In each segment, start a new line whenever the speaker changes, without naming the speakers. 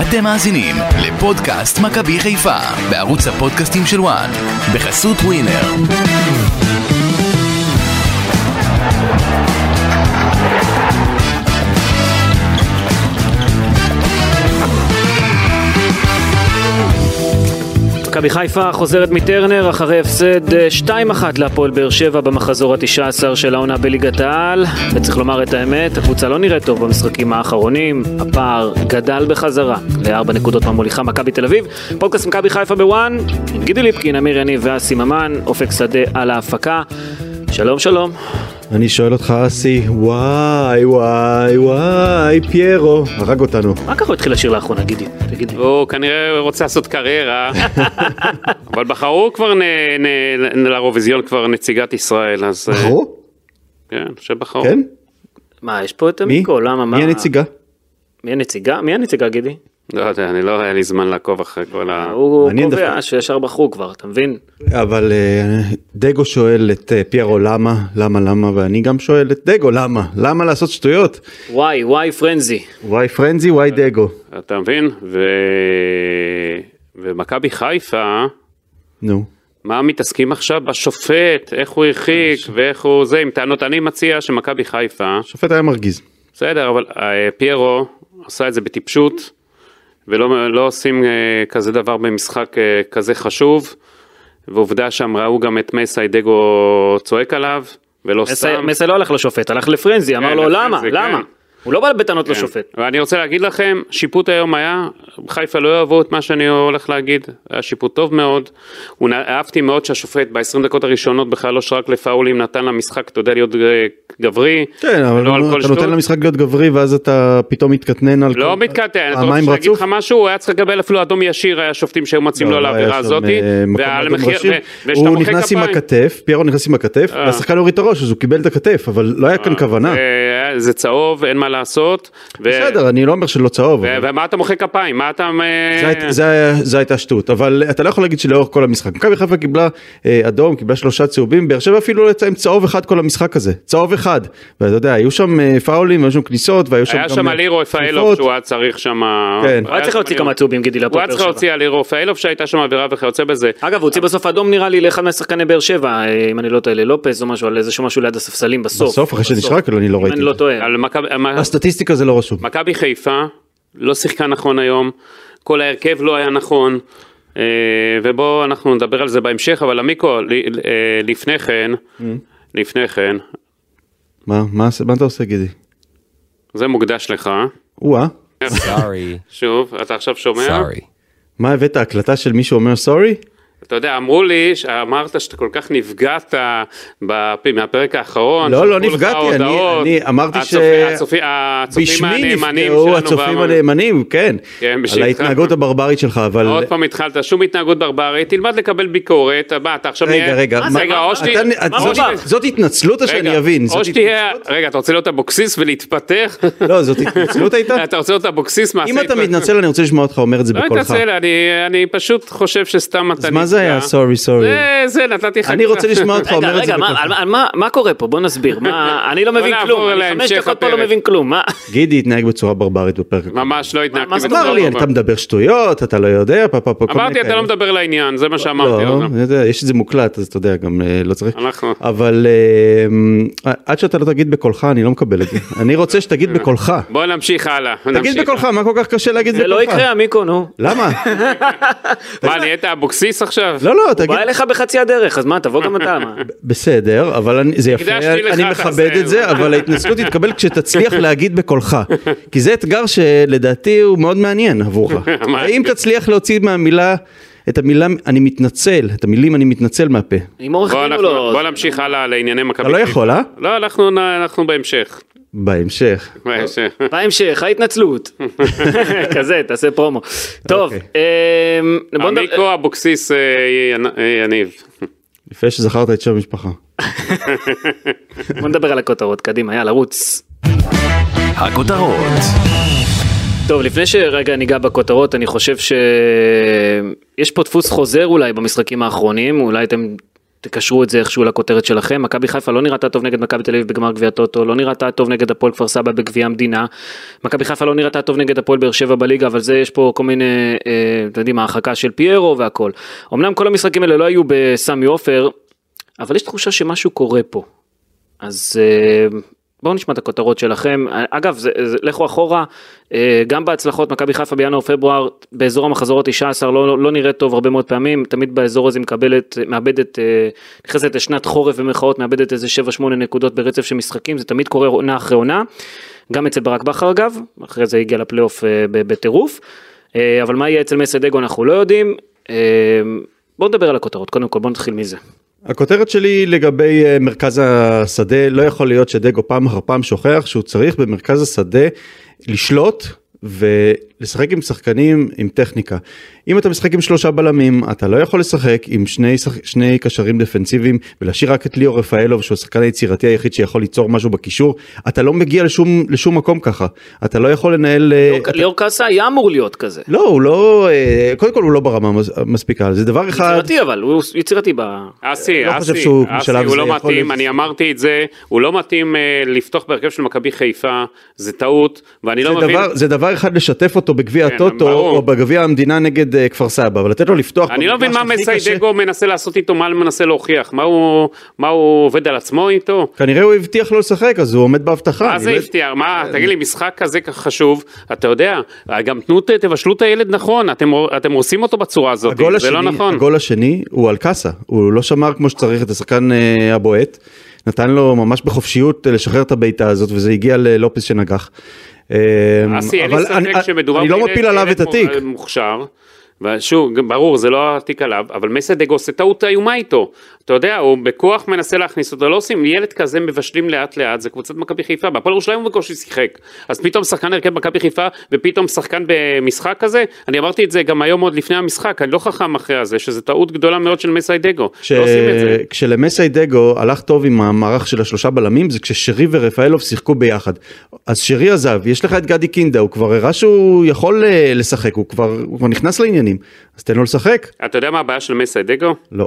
אתם מאזינים לפודקאסט מכבי חיפה בערוץ הפודקאסטים של וואן בחסות ווינר.
מכבי חיפה חוזרת מטרנר אחרי הפסד אה, 2-1 להפועל באר שבע במחזור ה-19 של העונה בליגת העל וצריך לומר את האמת, הקבוצה לא נראית טוב במשחקים האחרונים הפער גדל בחזרה לארבע נקודות מהמוליכה מכבי תל אביב פודקאסט מכבי חיפה בוואן עם גידי ליפקין, אמיר יניב ואסי ממן אופק שדה על ההפקה שלום שלום
אני שואל אותך אסי, וואי וואי וואי פיירו, הרג אותנו.
מה ככה הוא התחיל לשיר לאחרונה גידי? תגיד לי
הוא כנראה רוצה לעשות קריירה, אבל בחרו כבר נ, נ, נ, לאירוויזיון כבר נציגת ישראל, אז... אה,
בחרו?
כן, אני חושב בחרו.
כן?
מה יש פה את
מי?
המיקרו? למה? מה?
מי הנציגה?
מי הנציגה? מי הנציגה גידי?
לא יודע, אני לא, היה לי זמן לעקוב אחרי כל ה...
הוא
מעניין
קובע
דווקא.
שישר בחרו כבר אתה מבין?
אבל אה, דגו שואל את אה, פיירו למה, למה, למה, ואני גם שואל את דגו למה, למה לעשות שטויות?
וואי וואי פרנזי
וואי פרנזי, וואי דגו.
אתה מבין? ו... ומכבי חיפה,
נו.
מה מתעסקים עכשיו? בשופט, איך הוא הרחיק ואיך הוא זה, עם טענות. אני מציע שמכבי חיפה,
השופט היה מרגיז.
בסדר, אבל אה, פיירו עשה את זה בטיפשות, ולא לא עושים אה, כזה דבר במשחק אה, כזה חשוב, ועובדה שם ראו גם את מסאי דגו צועק עליו, ולא
מסי-
סתם.
מסי לא הלך לשופט, הלך לפרנזי, אמר
כן,
לו למה,
לפרנזי,
למה?
כן.
הוא לא בא בטענות
כן.
לשופט.
ואני רוצה להגיד לכם, שיפוט היום היה, חיפה לא יאהבו את מה שאני הולך להגיד, היה שיפוט טוב מאוד. הוא נ- אהבתי מאוד שהשופט ב-20 דקות הראשונות בכלל לא שרק לפאולים, נתן למשחק, אתה יודע, להיות אה, גברי.
כן, אבל
ולא לא על כל
אתה
שטות.
נותן למשחק להיות גברי ואז אתה פתאום מתקטנן על...
לא
כל-
מתקטע, אתה רוצה
פעמיים
להגיד
רצוף?
לך משהו, הוא היה צריך לקבל אפילו אדום ישיר, היה שופטים שהיו מוצאים
לא,
לו על
לא היה
העבירה
שם,
הזאת,
אה, מקום
ועל
לאדום
מחיר,
ראשי.
ו- וכשאתה
הוא
מוחא
נכנס עם
כפיים,
הכתף, פיירו נכנס עם הכתף, והשחקן הוריד את הראש, אז הוא קיבל את הכתף, אבל לא היה כאן כוונה.
אה, זה צהוב, אין מה לעשות, ו-
בסדר, אני לא אומר שלא צהוב.
ו-
אבל-
ומה אתה מוחא כפיים, מה אתה, אה,
זה היית- זה היה- זה הייתה שטות אבל אתה לא יכול להגיד שלאורך כל המשחק מכבי חיפה קיבלה אה, אדום קיבלה שלושה צהובים באר שבע אפילו לא יצא עם צהוב אחד כל המשחק הזה צהוב אחד ואתה יודע היו שם אה, פאולים היו שם כניסות והיו שם
היה
גם,
שם
אה,
על אירו
תקיפות.
רפאלוב שהוא היה צריך שם, אה,
כן.
הוא היה צריך להוציא כמה צהובים גידי
הוא
להפועל
היה
באר
צריך
שבע.
להוציא אה. על אירו רפאלוב שהייתה שם עבירה וכיוצא בזה,
אגב, הוא הוציא בסוף אדום נראה לי לאחד מהשחקני באר שבע, אה, אם אני לא טועה, ללופז או משהו, על איזשהו משהו ליד הספסלים בסוף.
בסוף אחרי
בסוף.
שנשרק לו אני לא
אם
ראיתי
אני לא
את זה.
טועה.
על מכבי- מה-
הסטטיסטיקה זה לא רשום
מכבי חיפה לא שיחקה נכון היום, כל ההרכב לא היה נכון, אה, ובואו אנחנו נדבר על זה בהמשך, אבל עמיקו, ל- אה, לפני כן,
Mm.
לפני כן,
מה מה עש- מה אתה עושה גידי?
זה מוקדש לך,
וואה
Sorry.
שוב, אתה עכשיו שומע?
Sorry.
מה הבאת הקלטה של מישהו אומר סורי?
אתה יודע, אמרו לי, אמרת שאתה כל כך נפגעת בפ- מהפרק האחרון.
לא, לא
שלחו לך
נפגעתי, אני-
הודעות.
אני אמרתי
הצופ-
ש-
הצופי- הצופים
בשמי
הנאמנים
נפגעו
שלנו.
הצופים
והמאזינים.
הנאמנים כן
כן, בשמך.
על ההתנהגות הברברית שלך אבל
עוד פעם התחלת, שום התנהגות ברברית, תלמד לקבל ביקורת, מה אתה עכשיו
רגע רגע
מה
מה-
זה, רגע,
מה-
או שת-
אתה-
מה
זאת-
הוא בא?
זאת התנצלות או שאני
רגע,
אבין זאת
או שתהיה, רגע, אתה רוצה להיות אבוקסיס ולהתפתח?
לא, זאת התנצלות הייתה?
אתה רוצה להיות אבוקסיס מעשה
אם אתה
התפתח.
מתנצל אני רוצה לשמוע אותך אומר את זה
לא
בקולך.
מתנצל, אני- אני פשוט חושב שסתם אתה נפגע.
אז מה זה היה סורי סורי?
זה, זה, נתתי לך.
אני רוצה לשמוע אותך
רגע,
אומר את זה
רגע, מה- על
בקולך.
מה- על מה- מה קורה פה? בוא נסביר. מה- אני לא
בוא
מבין
נעבור
כלום, אני
להמשך
חמש דקות פה לא
הפרק.
מבין כלום. מה?
גידי התנהג בצורה ברברית בפרק. הקודם.
ממש לא התנהגתי.
מה זה
בצורה
אמר לי
טובה.
אתה מדבר שטויות אתה לא יודע פה פה פה. כל מיני
אמרתי, אתה
כאלה.
לא מדבר לעניין, זה מה שאמרתי.
לא,
עוד פעם.
אני יודע, יש את זה מוקלט אז אתה יודע גם אה, לא צריך.
אנחנו-
אבל אה, עד שאתה לא תגיד בקולך אני לא מקבל את זה. אני רוצה שתגיד
כן.
בקולך.
בוא נמשיך הלאה.
תגיד
נמשיך.
בקולך מה כל כך קשה להגיד
זה
בקולך.
לא יקרה, עמיקו, נו.
למה?
מה, נהיית אבוקסיס עכשיו?
לא לא
הוא
תגיד
בא אליך בחצי הדרך, אז מה, תבוא גם אתה. מה?
בסדר, אבל אני, זה יפה,
הקדשתי
אני,
לך,
אני
תעשה
מכבד
את
את
זה.
זה, אבל ההתנצלות תתקבל כשתצליח להגיד בקולך. כי זה אתגר שלדעתי הוא מאוד מעניין עבורך. האם תצליח להוציא מהמילה, את המילה אני מתנצל, את המילים אני מתנצל מהפה.
עם אורך
בוא
דין הוא
אנחנו-
לא...
בוא נמשיך הלאה לענייני מכבי.
אתה לא
חיפה.
יכול, אה?
לא, אנחנו נ- אנחנו בהמשך.
בהמשך.
בהמשך.
בהמשך, ההתנצלות. כזה, תעשה פרומו. טוב,
אוקיי.
אמ, בוא נדבר...
עמיקו אבוקסיס אה, י- אה, יניב.
יפה שזכרת את שם המשפחה.
בוא נדבר על הכותרות, קדימה, יאללה, רוץ.
הכותרות,
טוב, לפני שרגע ניגע בכותרות, אני חושב שיש פה דפוס חוזר אולי במשחקים האחרונים, אולי אתם תקשרו את זה איכשהו לכותרת שלכם. מכבי חיפה לא נראתה טוב נגד מכבי תל אביב בגמר גביע טוטו, לא נראתה טוב נגד הפועל כפר סבא בגביע המדינה. מכבי חיפה לא נראתה טוב נגד הפועל באר שבע בליגה, אבל זה יש פה כל מיני, אה, אתם יודעים, ההרחקה של פיירו והכל. אמנם כל המשחקים האלה לא היו בסמי עופר, אבל יש תחושה שמשהו קורה פה. אז אה, בואו נשמע את הכותרות שלכם. אגב, זה, זה, לכו אחורה, אה, גם בהצלחות, מכבי חיפה בינואר-פברואר, באזור המחזור ה-19 לא, לא, לא נראית טוב הרבה מאוד פעמים, תמיד באזור הזה מקבלת, מאבדת, אה, נכנסת לשנת חורף במרכאות, מאבדת איזה 7-8 נקודות ברצף של משחקים, זה תמיד קורה עונה אחרי עונה. גם אצל ברק בכר אגב, אחרי זה הגיע לפלייאוף אה, ב- בטירוף. אה, אבל מה יהיה אצל מסדגו אנחנו לא יודעים. אה, בואו נדבר על הכותרות, קודם כל בואו נתחיל מזה.
הכותרת שלי לגבי אה, מרכז השדה, לא יכול להיות שדגו פעם אחר פעם שוכח שהוא צריך במרכז השדה לשלוט ולשחק עם שחקנים עם טכניקה. אם אתה משחק עם שלושה בלמים, אתה לא יכול לשחק עם שני, שח- שני קשרים דפנסיביים ולהשאיר רק את ליאור רפאלוב, שהוא השחקן היצירתי היחיד שיכול ליצור משהו בקישור. אתה לא מגיע לשום, לשום מקום ככה. אתה לא יכול לנהל... אה, אתה-
ליאור קאסה היה אמור להיות כזה.
לא, הוא לא... אה, קודם כל הוא לא ברמה מס- מספיקה. זה לא דבר אחד...
יצירתי אבל, הוא יצירתי ב...
אסי,
לא חושב
אסי,
שהוא
אסי,
בשלב
הוא
זה
לא
יכול
מתאים,
לב-
אני אמרתי את זה, הוא לא מתאים אה, לפתוח בהרכב של מכבי חיפה, זה טעות, ואני לא
זה
מבין,
דבר, זה דבר אחד לשתף אותו בגביע
כן,
הטוטו
ברור.
או בגביע המדינה נגד אה, כפר סבא, אבל לתת לו לפתוח.
אני לא מבין
במגרש
מה
הכי קשה-
מסיידגו מנסה לעשות איתו, מה הוא מנסה להוכיח, מה הוא מה הוא עובד על עצמו איתו?
כנראה הוא הבטיח לא לשחק אז הוא עומד בהבטחה.
מה
אני
זה
לא-
הפתיע? מה, תגיד לי, משחק כזה כך חשוב, אתה יודע, אה, גם תנו, ת- תבשלו את הילד נכון, אתם אתם הורסים אותו בצורה הזאת,
הגול
זה
השני,
לא נכון.
הגול השני הוא על קאסה, הוא לא שמר כמו שצריך את השחקן אה, הבועט, נתן לו ממש בחופשיות אה, לשחרר את הבעיטה הזאת וזה הגיע ללופס שנגח. אה,
אסי, אין לי
אבל
ספק שמדובר אה,
אני לא
בילד-
מפיל עליו את
ילד
התיק.
מוכ- מוכשר. ושוב, גם ברור, זה לא התיק עליו, אבל מסדג עושה טעות איומה איתו. אתה יודע, הוא בכוח מנסה להכניס אותו, לא עושים, ילד כזה מבשלים לאט לאט, זה קבוצת מכבי חיפה, בהפועל ירושלים הוא בקושי שיחק. אז פתאום שחקן הרכב מכבי חיפה, ופתאום שחקן במשחק כזה, אני אמרתי את זה גם היום עוד לפני המשחק, אני לא חכם אחרי הזה, שזו טעות גדולה מאוד של מסיידגו.
כש-
לא עושים את זה.
כשלמסי דגו הלך טוב עם המערך של השלושה בלמים זה כששרי ורפאלוב שיחקו ביחד. אז שרי עזב, יש לך את גדי קינדה, הוא כבר הראה שהוא יכול אה, לשחק, הוא כבר, הוא כבר נכנס לעניינים, אז תן לו לשחק.
אתה יודע מה הבעיה של מסיידגו?
לא.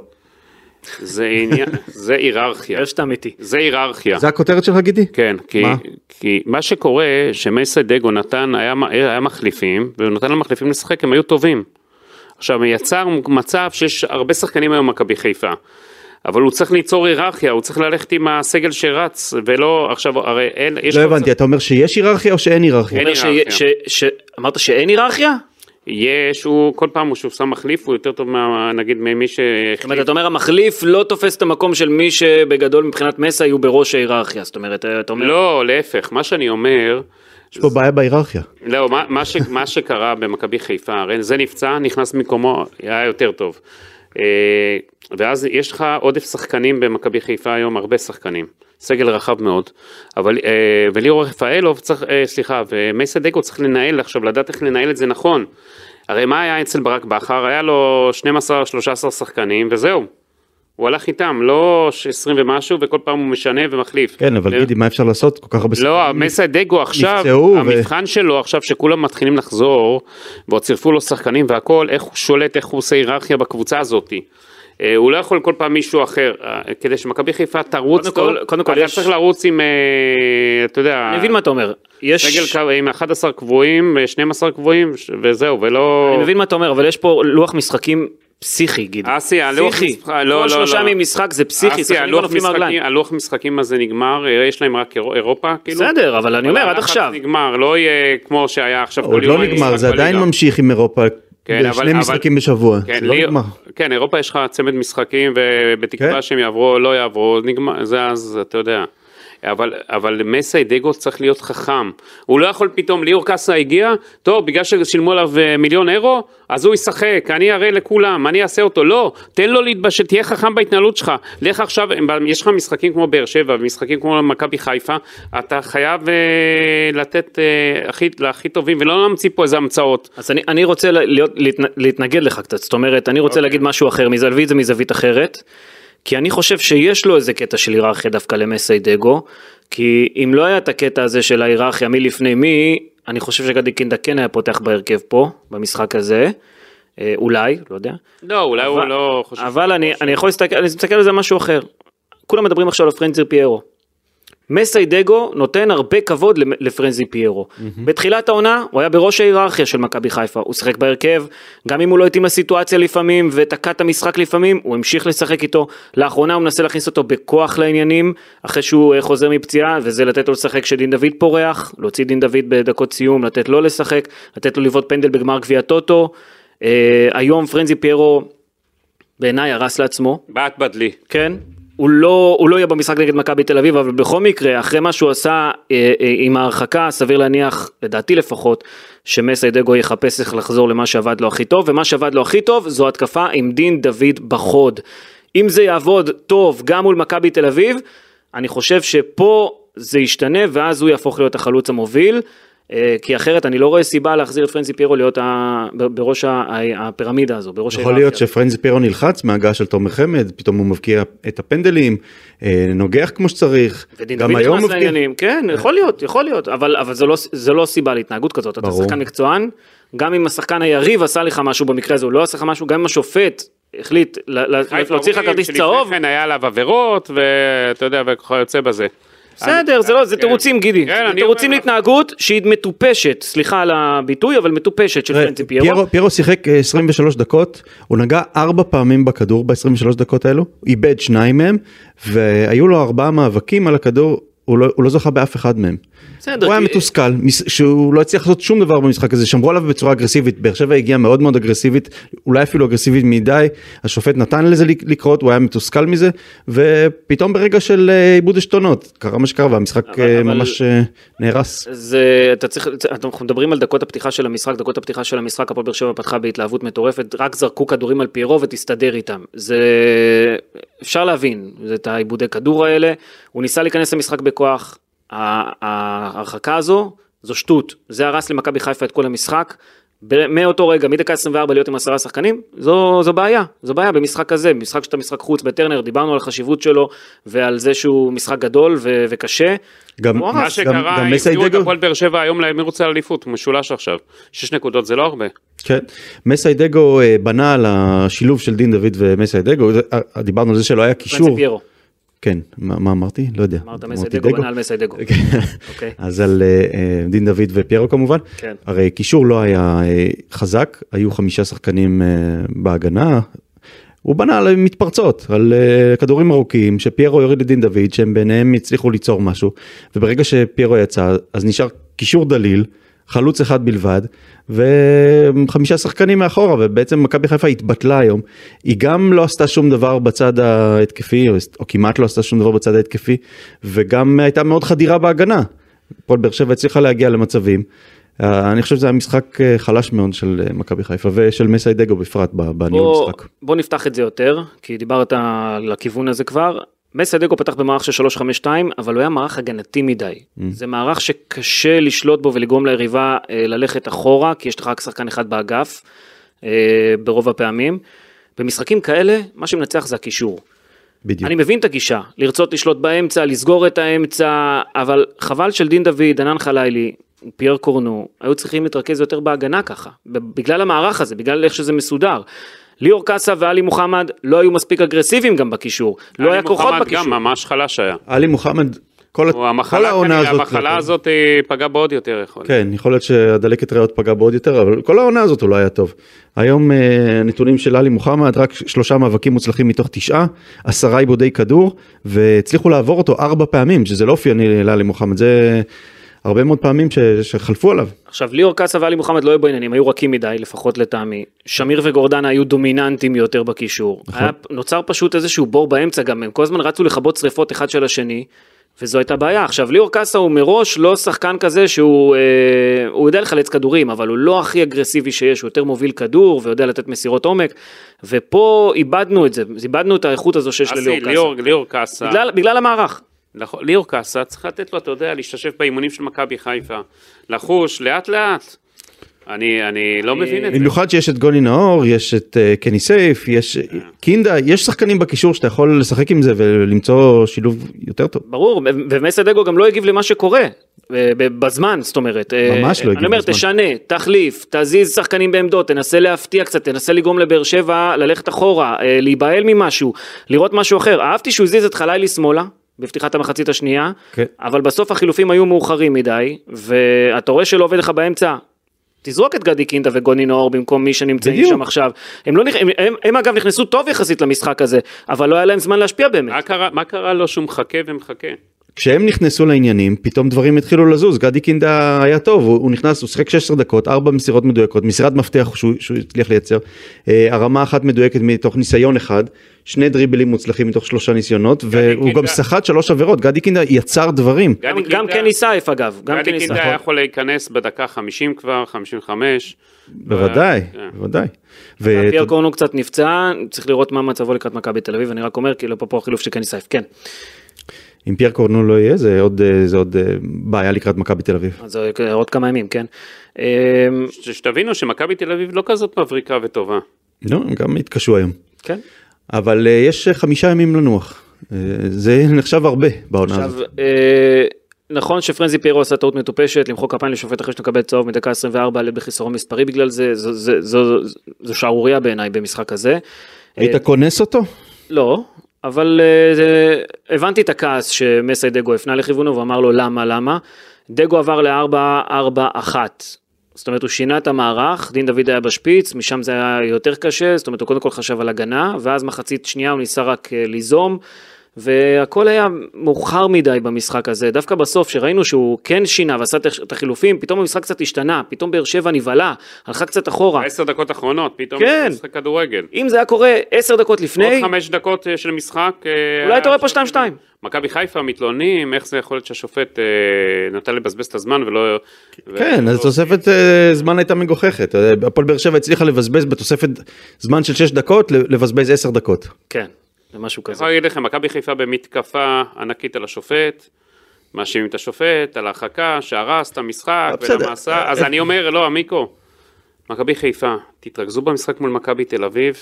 זה עניין, זה היררכיה.
יש שאתה אמיתי.
זה היררכיה.
זה הכותרת שלך גידי?
כן, כי
מה?
מה, כי מה שקורה, שמייסד דגו נתן, היה, היה מחליפים, והוא נתן למחליפים לשחק, הם היו טובים. עכשיו, יצר מצב שיש הרבה שחקנים היום במכבי חיפה. אבל הוא צריך ליצור היררכיה, הוא צריך ללכת עם הסגל שרץ, ולא, עכשיו, הרי אין, יש...
לא
קבוצה-
הבנתי, אתה אומר שיש היררכיה או שאין היררכיה?
אין
אומר
היררכיה.
ש- ש- ש- אמרת שאין היררכיה?
יש, הוא, כל פעם שהוא שם מחליף, הוא יותר טוב, מה, נגיד, ממי ש...
זאת אומרת, אתה אומר המחליף לא תופס את המקום של מי שבגדול מבחינת מסע יהיו בראש ההיררכיה. זאת אומרת, אה, אתה אומר...
לא, להפך, מה שאני אומר,
יש פה בעיה בהיררכיה.
לא, מה, מה, ש, מה שקרה במכבי חיפה, הרי זה נפצע, נכנס במקומו, היה יותר טוב. אה, ואז יש לך עודף שחקנים במכבי חיפה היום, הרבה שחקנים, סגל רחב מאוד, אבל, אה, וליאור רפאלוב צריך, אה, סליחה, ומייסד דגו צריך לנהל עכשיו, לדעת איך לנהל את זה נכון. הרי מה היה אצל ברק בכר? היה לו 12-13 שחקנים וזהו. הוא הלך איתם, לא 20 ומשהו, וכל פעם הוא משנה ומחליף.
כן, אבל
אה,
גידי, מה אפשר לעשות? כל כך הרבה
לא,
שחקנים.
המסיידגו עכשיו,
נפצעו ו-
המבחן שלו עכשיו שכולם מתחילים לחזור, ועוד צירפו לו שחקנים והכל, איך הוא שולט, איך הוא עושה היררכיה בקבוצה הזאת. אה, הוא לא יכול כל פעם מישהו אחר, אה, כדי שמכבי חיפה תרוץ
קודם
טוב,
כל- קודם כל
אתה
יש-
צריך לרוץ עם, אה, אתה יודע,
אני מבין מה אתה אומר.
סגל
יש...
קו- עם 11 קבועים, אה, 12 קבועים, ש- וזהו, ולא...
אני מבין מה אתה אומר, אבל יש פה לוח משחקים פסיכי, גידי.
אסי, הלוח
פסיכי.
משחק- לא, לא,
כל
לא. אה,
שלושה ממשחק זה פסיכי,
אסי,
שחקנים לא
הלוח
נופלים
משחקים-
מהרגליים.
הלוח משחקים הזה נגמר, אה, יש להם רק אירו- אירופה, כאילו?
בסדר, אבל אני אומר, עד
הלחץ
עכשיו.
נגמר, לא יהיה כמו שהיה עכשיו.
עוד
כל יום
לא
היה
נגמר,
משחק
זה עדיין
בליגה.
ממשיך עם אירופה.
כן, אבל-
שני
אבל-
משחקים בשבוע. זה
כן,
לא
לי-
נגמר.
כן, אירופה יש לך צמד משחקים, ובתקווה
כן.
שהם יעברו או לא יעברו, נגמר, זה אז, אתה יודע. אבל, אבל מסי דגו צריך להיות חכם. הוא לא יכול פתאום, ליאור קאסה הגיע, טוב, בגלל ששילמו עליו אה, מיליון אירו, אז הוא ישחק, אני אראה לכולם, אני אעשה אותו. לא, תן לו להתבשל, תהיה חכם בהתנהלות שלך. לך עכשיו, יש לך משחקים כמו באר שבע, ומשחקים כמו מכבי חיפה, אתה חייב אה, לתת אה, הכי, להכי טובים, ולא להמציא פה איזה המצאות.
אז אני, אני רוצה לה- להיות, להתנ- להתנגד לך קצת, זאת אומרת, אני רוצה okay. להגיד משהו אחר, מזה- להביא את זה מזווית אחרת, כי אני חושב שיש לו איזה קטע של היררכיה דווקא למסי דגו, כי אם לא היה את הקטע הזה של ההיררכיה מי לפני מי, אני חושב שגדי קינדה כן היה פותח בהרכב פה, במשחק הזה. אה, אולי, לא יודע.
לא, אולי הוא
אבל-
לא חושב...
אבל אני, אני יכול להסתכל, אני מסתכל על זה משהו אחר. כולם מדברים עכשיו על פרנזי פיירו. מסיידגו נותן הרבה כבוד למ- לפרנזי פיירו. בתחילת העונה הוא היה בראש ההיררכיה של מכבי חיפה, הוא שיחק בהרכב, גם אם הוא לא התאים לסיטואציה לפעמים ותקע את המשחק לפעמים, הוא המשיך לשחק איתו. לאחרונה הוא מנסה להכניס אותו בכוח לעניינים, אחרי שהוא אה, חוזר מפציעה, וזה לתת לו לשחק כשדין דוד פורח, להוציא דין דוד בדקות סיום, לתת לו לשחק, לתת לו לבעוט פנדל בגמר גביע טוטו. אה, היום פרנזי פיירו בעיניי הרס לעצמו,
בעט בדלי.
כן? הוא לא, הוא לא יהיה במשחק נגד מכבי תל אביב, אבל בכל מקרה, אחרי מה שהוא עשה אה, אה, עם ההרחקה, סביר להניח, לדעתי לפחות, שמסיידגו יחפש איך לחזור למה שעבד לו הכי טוב, ומה שעבד לו הכי טוב זו התקפה עם דין דוד בחוד. אם זה יעבוד טוב גם מול מכבי תל אביב, אני חושב שפה זה ישתנה, ואז הוא יהפוך להיות החלוץ המוביל. אה, כי אחרת אני לא רואה סיבה להחזיר את פרנסי פירו להיות ה... ב- בראש ה- ה- הפירמידה הזו, בראש
יכול
ההיררכיה.
להיות שפרנז פירו נלחץ מההגעה של תומר חמד, פתאום הוא מבקיע את הפנדלים, אה, נוגח כמו שצריך.
ודין דוד נכנס
מבקיע.
לעניינים, כן, יכול להיות, יכול להיות, אבל, אבל זה, לא, זה לא סיבה להתנהגות כזאת, אתה
ברור.
שחקן מקצוען, גם אם השחקן היריב עשה לך משהו במקרה הזה, הוא לא עשה לך משהו, גם אם השופט החליט ל- ל-
חיפה
להוציא לך
אומרים
כרטיס
שלפני
צהוב,
כן היה עליו עבירות, ואתה יודע, וכיוצא בזה.
בסדר,
אני-
זה לא, זה
כן.
תירוצים גידי,
כן,
זה
אני
תירוצים
אומר-
להתנהגות שהיא מטופשת, סליחה על הביטוי, אבל מטופשת של
תראה,
פרנצי פיירו,
אה, פיירו שיחק אה, 23 דקות, הוא נגע 4 פעמים בכדור ב-23 דקות האלו, איבד שניים מהם, והיו לו 4 מאבקים על הכדור, הוא לא, הוא לא זכה באף אחד מהם.
בסדר,
הוא היה
כי-
מתוסכל, מס- שהוא לא הצליח לעשות שום דבר במשחק הזה, שמרו עליו בצורה אגרסיבית, באר שבע הגיעה מאוד מאוד אגרסיבית, אולי אפילו אגרסיבית מדי, השופט נתן לזה לק- לקרות, הוא היה מתוסכל מזה, ופתאום ברגע של אה, איבוד עשתונות, קרה מה שקרה והמשחק
אבל-
אה,
אבל-
ממש אה, נהרס.
זה אתה צריך אנחנו מדברים על דקות הפתיחה של המשחק דקות הפתיחה של המשחק הפועל באר שבע פתחה בהתלהבות מטורפת רק זרקו כדורים על פיירו ותסתדר איתם זה אפשר להבין זה את העיבודי כדור האלה הוא ניסה להיכנס למשחק בכוח ה- ההרחקה הזו זו שטות זה הרס למכבי חיפה את כל המשחק. ב- מאותו רגע, מדקה 24 להיות עם עשרה שחקנים, זו, זו בעיה, זו בעיה במשחק הזה, משחק שאתה משחק חוץ בטרנר, דיברנו על החשיבות שלו ועל זה שהוא משחק גדול ו- וקשה.
גם-
הוא הרס.
מה
גם-
שקרה,
גם
הפתיעו את
מסיידגו-
הפועל באר שבע היום למרוץ האליפות, הוא משולש עכשיו. שש נקודות זה לא הרבה.
כן, מסיידגו אה, בנה על השילוב של דין דוד ומסיידגו, זה- אה, דיברנו על זה שלא היה
פרנסי
קישור,
פיירו.
כן, מה מה אמרתי? לא יודע,
אמרת
אמרתי
מסיידגו,
דגו?
בנה על מסיידגו.
כן.
אוקיי.
אז על אה, אה, דין דוד ופיירו כמובן,
כן.
הרי קישור לא היה אה, חזק, היו חמישה שחקנים אה, בהגנה, הוא בנה על מתפרצות, על אה, כדורים ארוכים שפיירו יוריד לדין דוד, שהם ביניהם הצליחו ליצור משהו, וברגע שפיירו יצא אז נשאר קישור דליל. חלוץ אחד בלבד וחמישה שחקנים מאחורה ובעצם מכבי חיפה התבטלה היום היא גם לא עשתה שום דבר בצד ההתקפי או- או כמעט לא עשתה שום דבר בצד ההתקפי וגם הייתה מאוד חדירה בהגנה. הפועל באר שבע הצליחה להגיע למצבים. אה, אני חושב שזה היה משחק אה, חלש מאוד של אה, מכבי חיפה ושל מסיידגו בפרט ב- בניהול
בוא,
משחק.
בוא נפתח את זה יותר, כי דיברת לכיוון הזה כבר. מסיידגו פתח במערך של 352, אבל הוא היה מערך הגנתי מדי.
Mm.
זה מערך שקשה לשלוט בו ולגרום ליריבה אה, ללכת אחורה, כי יש לך רק שחקן אחד באגף, אה, ברוב הפעמים. במשחקים כאלה, מה שמנצח זה הקישור.
בדיוק.
אני מבין את הגישה, לרצות לשלוט באמצע, לסגור את האמצע, אבל חבל של דין דוד, ענן חלילי, פייר קורנו, היו צריכים להתרכז יותר בהגנה ככה, בגלל המערך הזה, בגלל איך שזה מסודר. ליאור קאסה ואלי מוחמד לא היו מספיק אגרסיביים גם בקישור, לא היה כוחות
מוחמד
בקישור.
גם ממש חלש היה.
עלי מוחמד כל, ה-
הוא-
כל
המחלה
העונה
כנראה,
הזאת.
המחלה הזאת אה, פגעה בו עוד יותר יכול. להיות.
כן, יכול להיות שהדלקת ריאות פגעה בעוד יותר, אבל כל העונה הזאת הוא לא היה טוב. היום אה, נתונים של עלי מוחמד, רק שלושה מאבקים מוצלחים מתוך תשעה, עשרה עיבודי כדור, והצליחו לעבור אותו ארבע פעמים, שזה לא אופייני לעלי מוחמד, זה הרבה מאוד פעמים ש... שחלפו עליו.
עכשיו ליאור קאסה ואלי מוחמד לא היו בעניינים, היו רכים מדי, לפחות לטעמי. שמיר וגורדנה היו דומיננטים יותר בקישור.
נכון.
היה, נוצר פשוט איזשהו בור באמצע גם, הם כל הזמן רצו לכבות שריפות אחד של השני, וזו הייתה בעיה. עכשיו ליאור קאסה הוא מראש לא שחקן כזה שהוא, אה, הוא יודע לחלץ כדורים, אבל הוא לא הכי אגרסיבי שיש, הוא יותר מוביל כדור ויודע לתת מסירות עומק, ופה איבדנו את זה, איבדנו את האיכות הזו שיש
אסי,
לליאור
ליאור-
קאסה.
ליאור קאסה.
בגלל, בגלל המערך.
נכון, ליאור קאסה צריך לתת לו, אתה יודע, להשתשף באימונים של מכבי חיפה. לחוש, לאט לאט. אני, אני לא מבין את זה.
במיוחד שיש את גוני נאור, יש את אה, קני סייף, יש אה, קינדה, יש שחקנים בקישור שאתה יכול לשחק עם זה ולמצוא שילוב יותר טוב.
ברור, ומסדגו גם לא הגיב למה שקורה. אה, ב- בזמן, זאת אומרת. אה,
ממש לא הגיב
אני אומר,
בזמן.
תשנה, תחליף, תזיז שחקנים בעמדות, תנסה להפתיע קצת, תנסה לגרום לבאר שבע ללכת אחורה, אה, להיבהל ממשהו, לראות משהו אחר. אהבתי שהוא הזיז את חלילי שמאלה. בפתיחת המחצית השנייה,
כן.
אבל בסוף החילופים היו מאוחרים מדי, ואתה רואה שלא עובד לך באמצע. תזרוק את גדי קינדה וגוני נאור במקום מי שנמצאים
בדיוק.
שם עכשיו. הם, לא, נכ- הם, הם, הם אגב נכנסו טוב יחסית למשחק הזה, אבל לא היה להם זמן להשפיע באמת.
מה קרה, מה קרה לו שהוא מחכה ומחכה?
כשהם נכנסו לעניינים, פתאום דברים התחילו לזוז, גדי קינדה היה טוב, הוא, הוא נכנס, הוא שיחק 16 דקות, 4 מסירות מדויקות, מסירת מפתח שהוא, שהוא הצליח לייצר, אה, הרמה אחת מדויקת מתוך ניסיון אחד, שני דריבלים מוצלחים מתוך שלושה ניסיונות, והוא
קינדה- כן.
גם סחט שלוש עבירות, גדי קינדה יצר דברים.
גם,
גדי
גם
קינדה-
קני סייף אגב, גם כן נכון.
גדי
קני סייף.
קינדה היה יכול להיכנס בדקה 50 כבר, 55.
בוודאי,
כן.
בוודאי.
פייר
ותודה-
קורנו אה, קצת נפצע, צריך לראות מה מצבו לקראת מכבי תל אביב, אני רק אומר, כאילו פה החילוף של קני סייף, כן.
אם פייר קורנו לא יהיה, זה עוד, אה, זה עוד אה, בעיה לקראת מכבי תל אביב.
אז אה, עוד כמה ימים, כן. אה,
ש- שתבינו שמכבי תל אביב לא כזאת מבריקה וטובה.
לא, הם גם התקשו היום.
כן.
אבל אה, יש אה, חמישה ימים לנוח. אה, זה נחשב הרבה בעונה
עכשיו,
הזאת.
אה, נכון שפרנזי פיירו עשה טעות מטופשת, למחוא כפיים לשופט אחרי שנקבל צהוב מדקה 24, עלה בחיסרון מספרי בגלל זה, זו- זו- זו- זו- זו שערורייה בעיניי במשחק הזה.
אה,
היית כונס אותו?
לא, אבל אה, זה- הבנתי את הכעס שמסי דגו הפנה לכיוונו ואמר לו למה למה. דגו עבר ל-4-4-1. זאת אומרת הוא שינה את המערך, דין דוד היה בשפיץ, משם זה היה יותר קשה, זאת אומרת הוא קודם כל חשב על הגנה, ואז מחצית שנייה הוא ניסה רק אה, ליזום, והכל היה מאוחר מדי במשחק הזה, דווקא בסוף שראינו שהוא כן שינה ועשה את החילופים, פתאום המשחק קצת השתנה, פתאום באר שבע נבהלה, הלכה קצת אחורה.
עשר דקות אחרונות, פתאום
כן.
יש משחק כדורגל.
אם זה היה קורה עשר דקות
עוד
לפני,
חמש דקות אה, של משחק. אה,
אולי אתה רואה פה
השופט-
2-2.
מכבי חיפה מתלוננים, איך זה יכול להיות שהשופט אה, נתן לבזבז את הזמן ולא... ו-
כן, אז
לא-
תוספת אה, זמן הייתה מגוחכת. אה, הפועל באר שבע הצליחה לבזבז בתוספת זמן של 6 דקות, ל- לבזבז 10 דקות.
אה,
כן, זה משהו כזה.
אני יכול להגיד לכם, מכבי חיפה במתקפה ענקית על השופט, מאשימים את השופט על ההרחקה, שהרס את המשחק,
אה, בסדר.
ולמה עשה, אז אני אומר, לא, עמיקו, מכבי חיפה, תתרכזו במשחק מול מכבי תל אביב,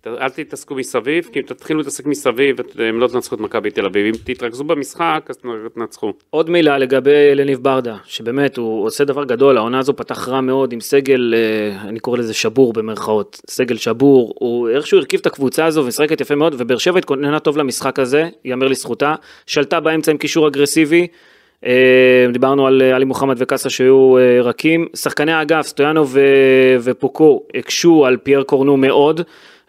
ת- אל תתעסקו מסביב, כי אם תתחילו להתעסק מסביב, את- הם לא תנצחו את מכבי תל אביב, אם תתרכזו במשחק, אז תנצחו.
עוד מילה לגבי לניב ברדה, שבאמת הוא עושה דבר גדול, העונה הזו פתח רע מאוד עם סגל, אה, אני קורא לזה שבור במרכאות, סגל שבור, הוא איכשהו הרכיב את הקבוצה הזו ומשחקת יפה מאוד, ובאר שבע התכוננה טוב למשחק הזה, ייאמר לזכותה, שלטה באמצע עם קישור אגרסיבי, אה, דיברנו על אה, עלי מוחמד וקאסה שהיו אה, רכים, שחקני האגף, סטויאנוב ו- ופוקו הקשו על פייר קורנו מאוד.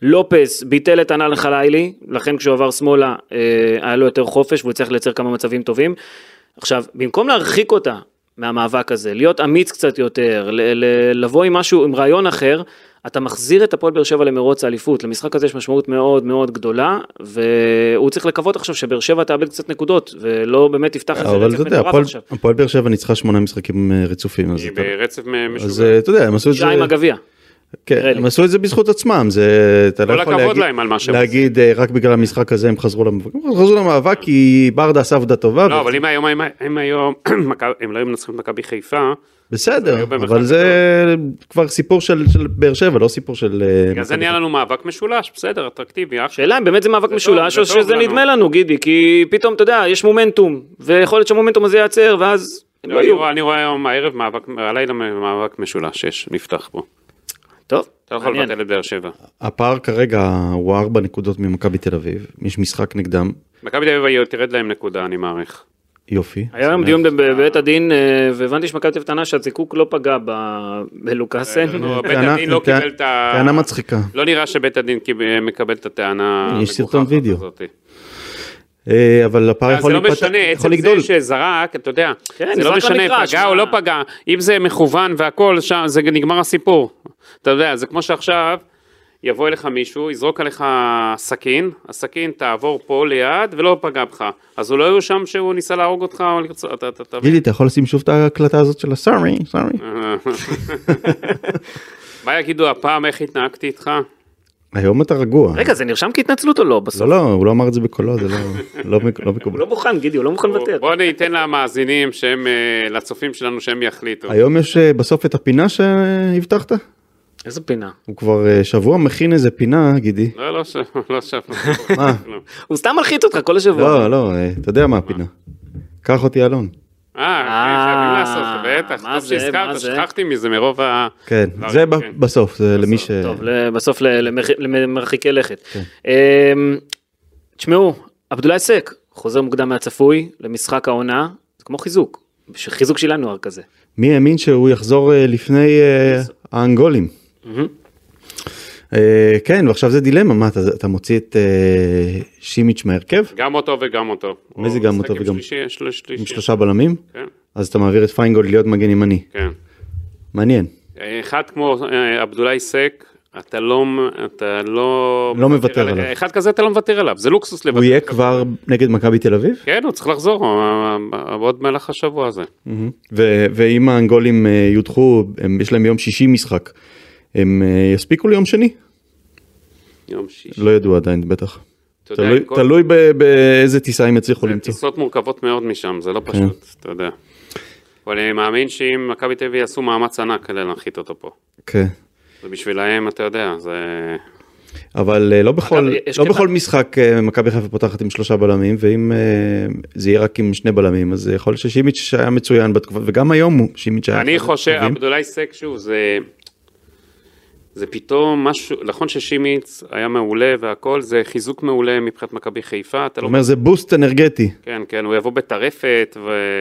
לופס ביטל את ענן חלילי, לכן כשהוא עבר שמאלה אה, היה לו יותר חופש והוא הצליח לייצר כמה מצבים טובים. עכשיו, במקום להרחיק אותה מהמאבק הזה, להיות אמיץ קצת יותר, ל- ל- לבוא עם משהו, עם רעיון אחר, אתה מחזיר את הפועל באר שבע למרוץ האליפות. למשחק הזה יש משמעות מאוד מאוד גדולה, והוא צריך לקוות עכשיו שבאר שבע תאבד קצת נקודות, ולא באמת יפתח איזה
אבל אתה
רצף
יודע,
מטורף
הפועל-
עכשיו.
הפועל באר שבע ניצחה 8 משחקים אה, רצופים. אז
היא
אתה-
ברצף
אז
משוגע.
אה, אתה יודע, הם עשו את זה,
שעה עם הגביע.
כן,
נראה לי.
הם עשו את זה בזכות עצמם, זה, אתה לא
כל
יכול
הכבוד
להגיד-
להם על מה שהם
להגיד אה, רק בגלל המשחק הזה הם חזרו למאבק, הם חזרו למאבק כי ברדה עשה עבודה טובה,
לא,
ו-
אבל אם היום, אם- אם היום, מכבי- הם לא היו מנצחים את מכבי חיפה,
בסדר,
היו במרחק
אבל זה כבר סיפור של של באר שבע, לא סיפור של... אה,
בגלל זה
מכבי
נהיה לנו מאבק משולש, בסדר, אטרקטיבי, אחלה.
שאלה אם באמת זה מאבק
טוב,
משולש,
זה
או
טוב
שזה
לנו.
נדמה לנו, גידי, כי פתאום, אתה יודע, יש מומנטום, ויכול להיות שהמומנטום הזה ייעצר, ואז... הם לא
אני
יהיו.
רואה- אני רואה היום הערב מאבק, הלילה מאבק משולש, יש, נפתח פה.
טוב,
אתה לא יכול
מעניין.
לבטל את באר שבע.
הפער כרגע הוא ארבע נקודות ממכבי תל אביב, יש משחק נגדם,
מכבי תל אביב תרד להם נקודה, אני מעריך.
יופי.
היה היום דיון בב- בבית הדין, אה, והבנתי שמכבי תל אביב טענה שהזיקוק לא פגע ב- בלוקאסן.
נו, בית
טענה-
הדין לא
טע-
קיבל את ה...
טענה מצחיקה.
לא נראה שבית הדין קיב- אה, מקבל את הטענה
יש
המגוחכת
סרטון וידאו.
הזאת.
אה, אבל הפער
אז זה
יכול
לא
להיפתח,
משנה,
יכול
עצם
לגדול.
זה שזרק, אתה יודע,
כן,
זה
נזרק
לא משנה,
למגרש,
פגע
מה?
או לא פגע, אם זה מכוון והכל, שם זה נגמר הסיפור. אתה יודע, זה כמו שעכשיו, יבוא אליך מישהו, יזרוק עליך סכין, הסכין תעבור פה ליד ולא פגע בך. אז הוא לא יהיו שם שהוא ניסה להרוג אותך או לרצות, אתה- אתה אתה מבין?
גידי, אתה יכול לשים שוב את ההקלטה הזאת של הסארי,
אה.
סארי.
מה יגידו הפעם, איך התנהגתי איתך?
היום אתה רגוע.
רגע, זה נרשם כהתנצלות או לא בסוף?
לא, לא, הוא לא אמר את זה בקולו, זה לא- לא מק- לא
הוא
מקובל.
לא מוכן, גידי, הוא לא מוכן לוותר.
בוא ניתן למאזינים שהם, אה, לצופים שלנו שהם יחליטו.
היום יש אה, בסוף את הפינה שהבטחת?
איזה פינה.
הוא כבר אה, שבוע מכין איזה פינה, גידי.
לא, לא ש... לא ש...
מה?
הוא סתם מלחיץ אותך כל השבוע.
לא, לא, אה, אתה יודע מה הפינה. קח אותי אלון.
אה,
אה,
חייבים לעשות, בטח,
מה
טוב
זה, מה זה?
שהזכרת, שכחתי מזה מרוב ה...
כן,
דברים,
זה ב-
כן.
בסוף, זה למי ש...
טוב, ל- בסוף ל- למרח- למרחיקי לכת. אמ, תשמעו, עבדולאי סק חוזר מוקדם מהצפוי למשחק העונה, זה כמו חיזוק, חיזוק של ינואר כזה.
מי האמין שהוא יחזור אה, לפני אה, האנגולים? אה, כן, ועכשיו זה דילמה, מה, אתה- אתה מוציא את אה, שימיץ' מהרכב?
גם אותו וגם אותו.
מי זה
הוא
גם
משחק
אותו
עם
וגם-
שלישי, של- שלישי.
עם שלושה בלמים?
כן,
אז אתה מעביר את פיינגולד להיות מגן ימני.
כן.
מעניין.
אחד כמו אה, עבדולאי סק, אתה לא... אתה לא...
לא מוותר
על-
עליו.
אחד כזה אתה לא מוותר עליו, זה לוקסוס לוותר.
הוא יהיה כבר נגד מכבי תל אביב?
כן, הוא צריך לחזור אה, אה, עוד במהלך השבוע הזה.
ו- ואם האנגולים אה, יודחו, הם- יש להם ביום שישי משחק. הם אה, יספיקו ליום שני?
יום שישי.
לא ידעו עדיין, בטח.
אתה יודע,
תלוי-
עם כל-
תלוי ב- באיזה טיסה הם יצליחו
זה
למצוא. כן.
טיסות מורכבות מאוד משם, זה לא פשוט, אתה יודע. אבל אני מאמין שאם מכבי תל אביב יעשו מאמץ ענק כדי להנחית אותו פה.
כן.
זה בשבילהם, אתה יודע, זה...
אבל אה, לא בכל,
אגב, יש
לא
קטע-
בכל משחק אה, מכבי חיפה פותחת עם שלושה בלמים, ואם אה, זה יהיה רק עם שני בלמים, אז יכול להיות ששימיץ' היה מצוין בתקופה, וגם היום הוא שימיץ' היה...
אני
אחד
חושב,
הטובים.
עבדולאי סק, שוב, זה... זה פתאום משהו, נכון ששימיץ היה מעולה והכל, זה חיזוק מעולה מבחינת מכבי חיפה, אתה
אתה
לא...
אומר זה בוסט אנרגטי,
כן, כן, הוא יבוא בטרפת,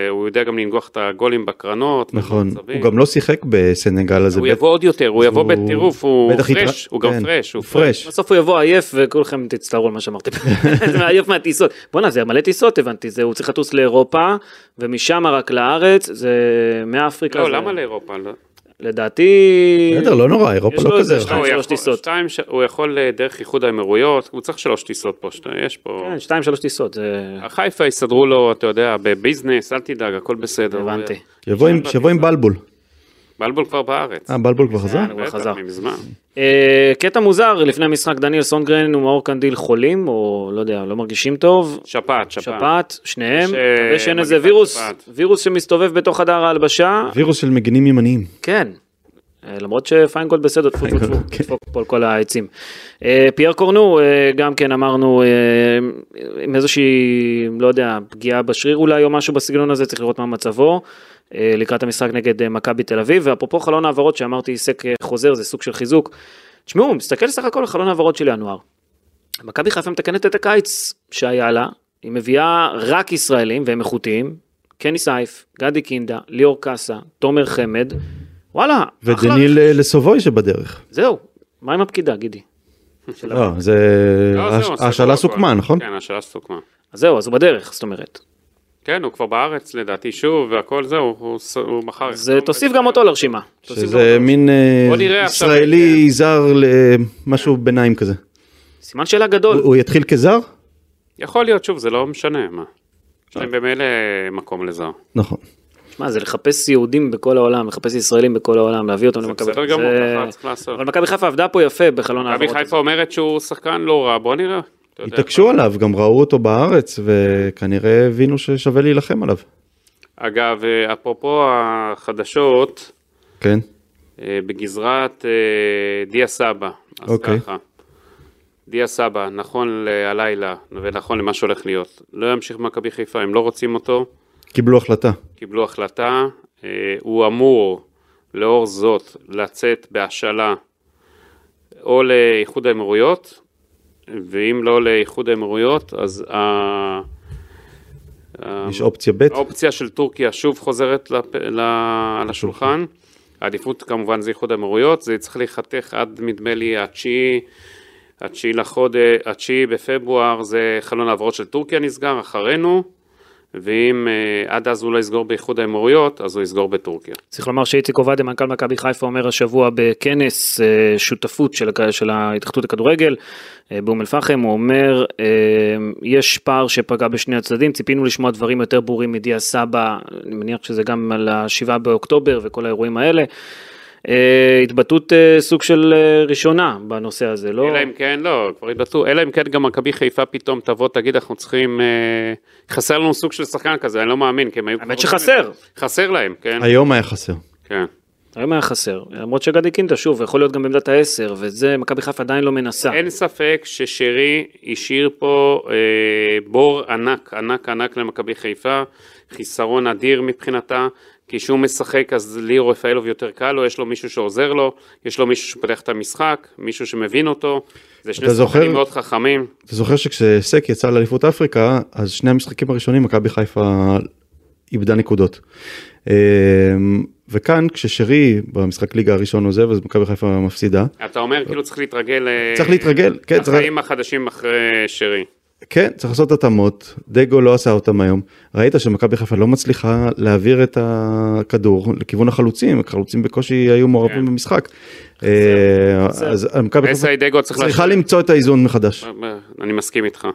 והוא יודע גם לנגוח את הגולים בקרנות.
נכון.
ובמצבים.
הוא גם לא שיחק בסנגל הזה.
הוא
בטח-
יבוא עוד יותר, הוא יבוא
הוא-
בטירוף, הוא
בטח התרא-
פרש, הוא גם
כן,
פרש, הוא
הוא פרש.
בסוף הוא יבוא עייף וכולכם תצטערו על מה שאמרתי, זה עייף מהטיסות. בואנה זה מלא טיסות הבנתי, זה הוא צריך לטוס לאירופה ומשם רק לארץ, זה מאפריקה.
לא,
זה-
למה לאירופה? לא-
לדעתי...
בסדר, לא נורא, אירופה
יש
לא
לו איזה
כזה. רחוק.
שתיים,
הוא
שלוש
יכול-
טיסות.
שתיים ש- הוא יכול אה, דרך איחוד האמירויות, הוא צריך שלוש טיסות פה, שתי- יש פה.
כן, שתיים שלוש טיסות, זה...
חיפה יסדרו לו, אתה יודע, בביזנס, אל תדאג, הכל בסדר.
הבנתי.
יבוא עם- שיבוא עם בלבול.
בלבול כבר בארץ.
אה, בלבול כבר חזר?
הוא כבר
בטח,
חזר.
מזמן.
אה, קטע מוזר, לפני המשחק דניאל סונגרן ומאור קנדיל חולים, או לא יודע, לא מרגישים טוב.
שפעת, שפעת.
שפעת, שניהם,
יש,
מקווה שאין
אה,
איזה
מגפת
וירוס,
שפעת.
וירוס שמסתובב בתוך חדר ההלבשה,
וירוס של מגינים ימניים.
כן. אה, למרות שפיינגולד בסדר, טפו טפו
פיינגולד,
טפו, תדפוק פה על כל העצים. אה, פייר קורנו, אה, גם כן אמרנו, אה, עם איזושהי, לא יודע, פגיעה בשריר אולי או משהו בסגנון הזה, צריך לראות מה מצבו, אה, לקראת המשחק נגד אה, מכבי תל אביב, ואפרופו חלון העברות שאמרתי, עיסק אה, חוזר, זה סוג של חיזוק. תשמעו, מסתכל סך הכל על חלון העברות של ינואר. מכבי חיפה מתקנת את הקיץ שהיה לה, היא מביאה רק ישראלים והם איכותיים, קני סייף, גדי קינדה, ליאור קאסה, תומר חמד, וואלה, אחלה.
ודניל אה, לסובוי שבדרך.
זהו, מה עם הפקידה גידי? של
לא,
ה-
זה...
לא,
אה,
הש-
זהו,
ההשאלה
סגור הכל.
סוכמה, נכון?
כן, השאלה סוכמה.
אז זהו, אז הוא בדרך, זאת אומרת.
כן, הוא כבר בארץ לדעתי שוב, והכל זהו, הוא ס- הוא מחר.
אז אה, תוסיף גם אותו לרשימה. תוסיף גם
שזה מין אה,
בוא נראה עכשיו,
ישראלי זר למשהו ביניים כזה.
אותו. סימן שאלה גדול.
הוא- הוא יתחיל כזר?
יכול להיות, שוב, זה לא משנה, מה. יש להם במילא מקום לזר.
נכון.
שמע, זה לחפש יהודים בכל העולם, לחפש ישראלים בכל העולם, להביא אותם למכבי
בסדר גמור, ככה צריך לעשות.
אבל מכבי חיפה עבדה פה יפה בחלון
מכבי
העברות.
חיפה אומרת שהוא שחקן לא רע, בוא נראה. אתה יודע.
התעקשו עליו, גם ראו אותו בארץ, וכנראה הבינו ששווה להילחם עליו.
אגב, אה, אפרופו החדשות,
כן.
אה, בגזרת אה, דיה סבא. אז
אוקיי.
ככה, דיה סבא, נכון הלילה, ונכון למה שהולך להיות. לא ימשיך במכבי חיפה, הם לא רוצים אותו,
קיבלו החלטה.
קיבלו החלטה. אה, הוא אמור, לאור זאת, לצאת בהשאלה או לאיחוד האמירויות, ואם לא לאיחוד האמירויות, אז ה... ה-
יש אופציה ב'.
האופציה של טורקיה שוב חוזרת לפ... ל... על השולחן. העדיפות כמובן זה איחוד האמירויות, זה צריך להיחתך עד נדמה לי התשיעי, התשיעי לחודש, התשיעי בפברואר זה חלון העברות של טורקיה נסגר אחרינו, ואם אה, עד אז הוא לא יסגור באיחוד האמירויות, אז הוא יסגור בטורקיה.
צריך לומר שאיציק עובדיה, מנכ"ל מכבי חיפה, אומר השבוע בכנס אה, שותפות של, הכ- של ההתאחדות לכדורגל אה, באום אל-פחם, הוא אומר, אה, יש פער שפגע בשני הצדדים, ציפינו לשמוע דברים יותר ברורים מדיה סבא, אני מניח שזה גם על השבעה באוקטובר וכל האירועים האלה. אה, התבטאות אה, סוג של אה, ראשונה בנושא הזה, לא?
אלא אם כן, לא, כבר התבטאו, אלא אם כן גם מכבי חיפה פתאום תבוא, תגיד, אנחנו צריכים, אה, חסר לנו סוג של שחקן כזה, אני לא מאמין, כי הם היו...
האמת
כבר-
שחסר.
חסר להם, כן,
היום היה חסר.
כן.
היום היה חסר, למרות שגדי קינדה שוב יכול להיות גם בעמדת העשר, וזה מכבי חיפה עדיין לא מנסה.
כן.
אין ספק ששרי השאיר פה אה, בור ענק, ענק ענק למכבי חיפה, חיסרון אדיר מבחינתה, כי כשהוא משחק אז ליר רפאלוב יותר קל לו, יש לו מישהו שעוזר לו, יש לו מישהו שפותח את המשחק, מישהו שמבין אותו, זה שני
אתה זוכר?
שחקנים מאוד חכמים.
אתה זוכר שכשסק יצא לאליפות אפריקה, אז שני המשחקים הראשונים מכבי חיפה איבדה נקודות. אמ, וכאן כששרי במשחק ליגה הראשון עוזב, אז מכבי חיפה מפסידה.
אתה אומר כאילו צריך להתרגל... אה,
צריך להתרגל, כן, צריך-
לחיים החדשים אחרי שרי.
כן, צריך לעשות התאמות, דגו לא עשה אותם היום. ראית שמכבי חיפה לא מצליחה להעביר את הכדור לכיוון החלוצים, החלוצים בקושי היו מעורבים
כן.
במשחק. אה, אז מכבי חיפה
אסאי דגו צריך...
צריכה
להשאיר- אה.
למצוא את האיזון מחדש.
אני מסכים איתך.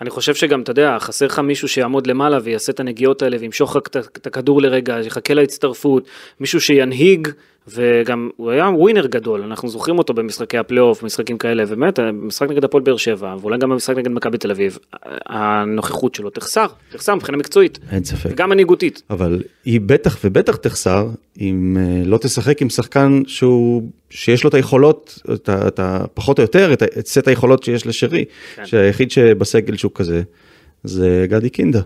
אני חושב שגם, אתה יודע, חסר לך מישהו שיעמוד למעלה ויעשה את הנגיעות האלה וימשוך רק את- את הכדור לרגע, יחכה להצטרפות, מישהו שינהיג, וגם הוא היה ווינר גדול, אנחנו זוכרים אותו במשחקי הפלייאוף, משחקים כאלה, באמת, משחק נגד הפועל באר שבע, ואולי גם במשחק נגד מכבי תל אביב, הנוכחות שלו תחסר, תחסר מבחינה מקצועית,
אין ספק.
וגם מנהיגותית.
אבל היא בטח ובטח תחסר אם אה, לא תשחק עם שחקן שהוא שיש לו את היכולות, את, ה- את ה- פחות או יותר את, ה- את סט היכולות שיש לשרי,
כן.
שהיחיד שבסגל שהוא כזה זה גדי קינדה.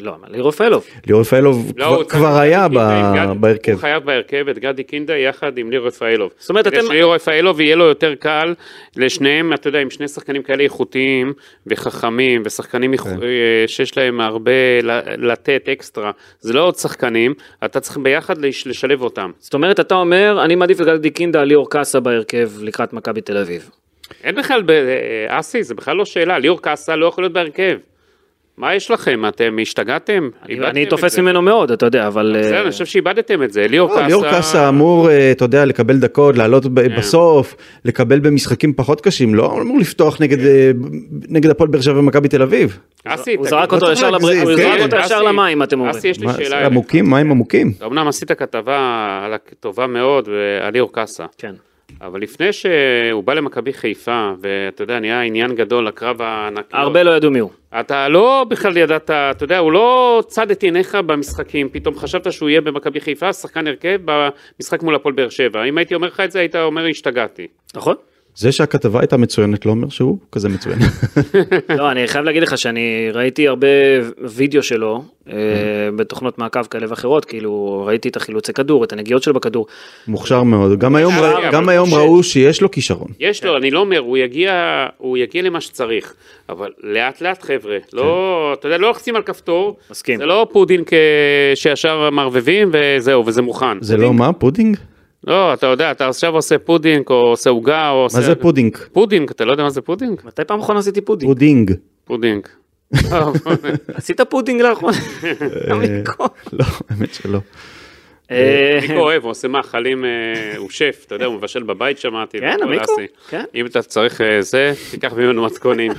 לא, אבל ליאור רפאלוב,
ליאור רפאלוב
לא,
כבר-
הוא צריך
כבר
את
היה
גדי קינדה עם
ב-
גד-
בהרכב.
הוא חייב בהרכב את גדי קינדה יחד עם ליאור רפאלוב.
זאת אומרת, אתם-
כדי שליאור רפאלוב יהיה לו יותר קל, לשניהם, אתה יודע, עם שני שחקנים כאלה איכותיים וחכמים ושחקנים איכ-
כן.
אה, שיש להם הרבה ל- לתת אקסטרה, זה לא עוד שחקנים, אתה צריך ביחד לש- לשלב אותם.
זאת אומרת, אתה אומר, אני מעדיף את גדי קינדה על ליאור קאסה בהרכב לקראת מכבי תל אביב.
אין בכלל, ב- אה, אסי, זה בכלל לא שאלה, ליאור קאסה לא יכול להיות בהרכב. מה יש לכם? אתם השתגעתם? איבדתם
אני
את
תופס
זה.
ממנו מאוד, אתה יודע, אבל...
בסדר,
אה,
אני חושב שאיבדתם את זה, ליאור
לא,
קאסה...
ליאור קאסה אמור, אה, אתה יודע, לקבל דקות, לעלות ב-
כן.
בסוף, לקבל במשחקים פחות קשים, לא אמור לפתוח נגד,
כן.
אה, נגד הפועל באר שבע ומכבי תל אביב.
אסי,
הוא
אתה-
זרק
לא
אותו
צריך
ישר
להגזים,
לברית, הוא
כן.
זרק אותו
אסי,
ישר למים, אתם אומרים.
אסי, יש לי
מה,
שאלה אליך.
עמוקים? מה עם עמוקים?
אמנם עשית כתבה על ה- טובה מאוד אה, על ליאור קאסה,
כן.
אבל לפני שהוא בא למכבי חיפה, ואתה יודע, נהיה עניין גדול לקרב הענקי.
הרבה לא ידעו מי הוא.
אתה לא בכלל ידעת, אתה יודע, הוא לא צד את עיניך במשחקים, פתאום חשבת שהוא יהיה במכבי חיפה, שחקן הרכב במשחק מול הפועל באר שבע. אם הייתי אומר לך את זה, היית אומר, השתגעתי.
נכון?
זה שהכתבה הייתה מצוינת לא אומר שהוא כזה מצוין.
לא, אני חייב להגיד לך שאני ראיתי הרבה וידאו שלו אה, בתוכנות מעקב כאלה ואחרות, כאילו ראיתי את החילוצי כדור, את הנגיעות שלו בכדור.
מוכשר מאוד, גם היום,
אבל- לא
רא- גם
אבל-
היום
ש-
ראו שיש לו כישרון.
יש לו, אני לא אומר, הוא יגיע, הוא יגיע למה שצריך, אבל לאט לאט חבר'ה,
כן.
לא, אתה יודע, לא לוחצים על כפתור,
מסכים.
זה לא פודינג אה, שישר מערבבים וזהו, וזה מוכן.
זה לא מה? פודינג?
לא, אתה יודע, אתה עכשיו עושה פודינג, או עושה עוגה, או עושה...
מה זה פודינג?
פודינג, אתה לא יודע מה זה פודינג?
מתי פעם אחרונה עשיתי פודינג?
פודינג.
פודינג. אה,
עשית פודינג לאחרונה?
אה, לא, האמת שלא.
אה,
מיקו אוהב, הוא עושה מאכלים, אה, הוא שף, אתה יודע, הוא מבשל בבית, שמעתי.
כן,
והכל,
המיקרו,
אסי.
כן.
אם אתה צריך אה, זה, תיקח ממנו מתכונים.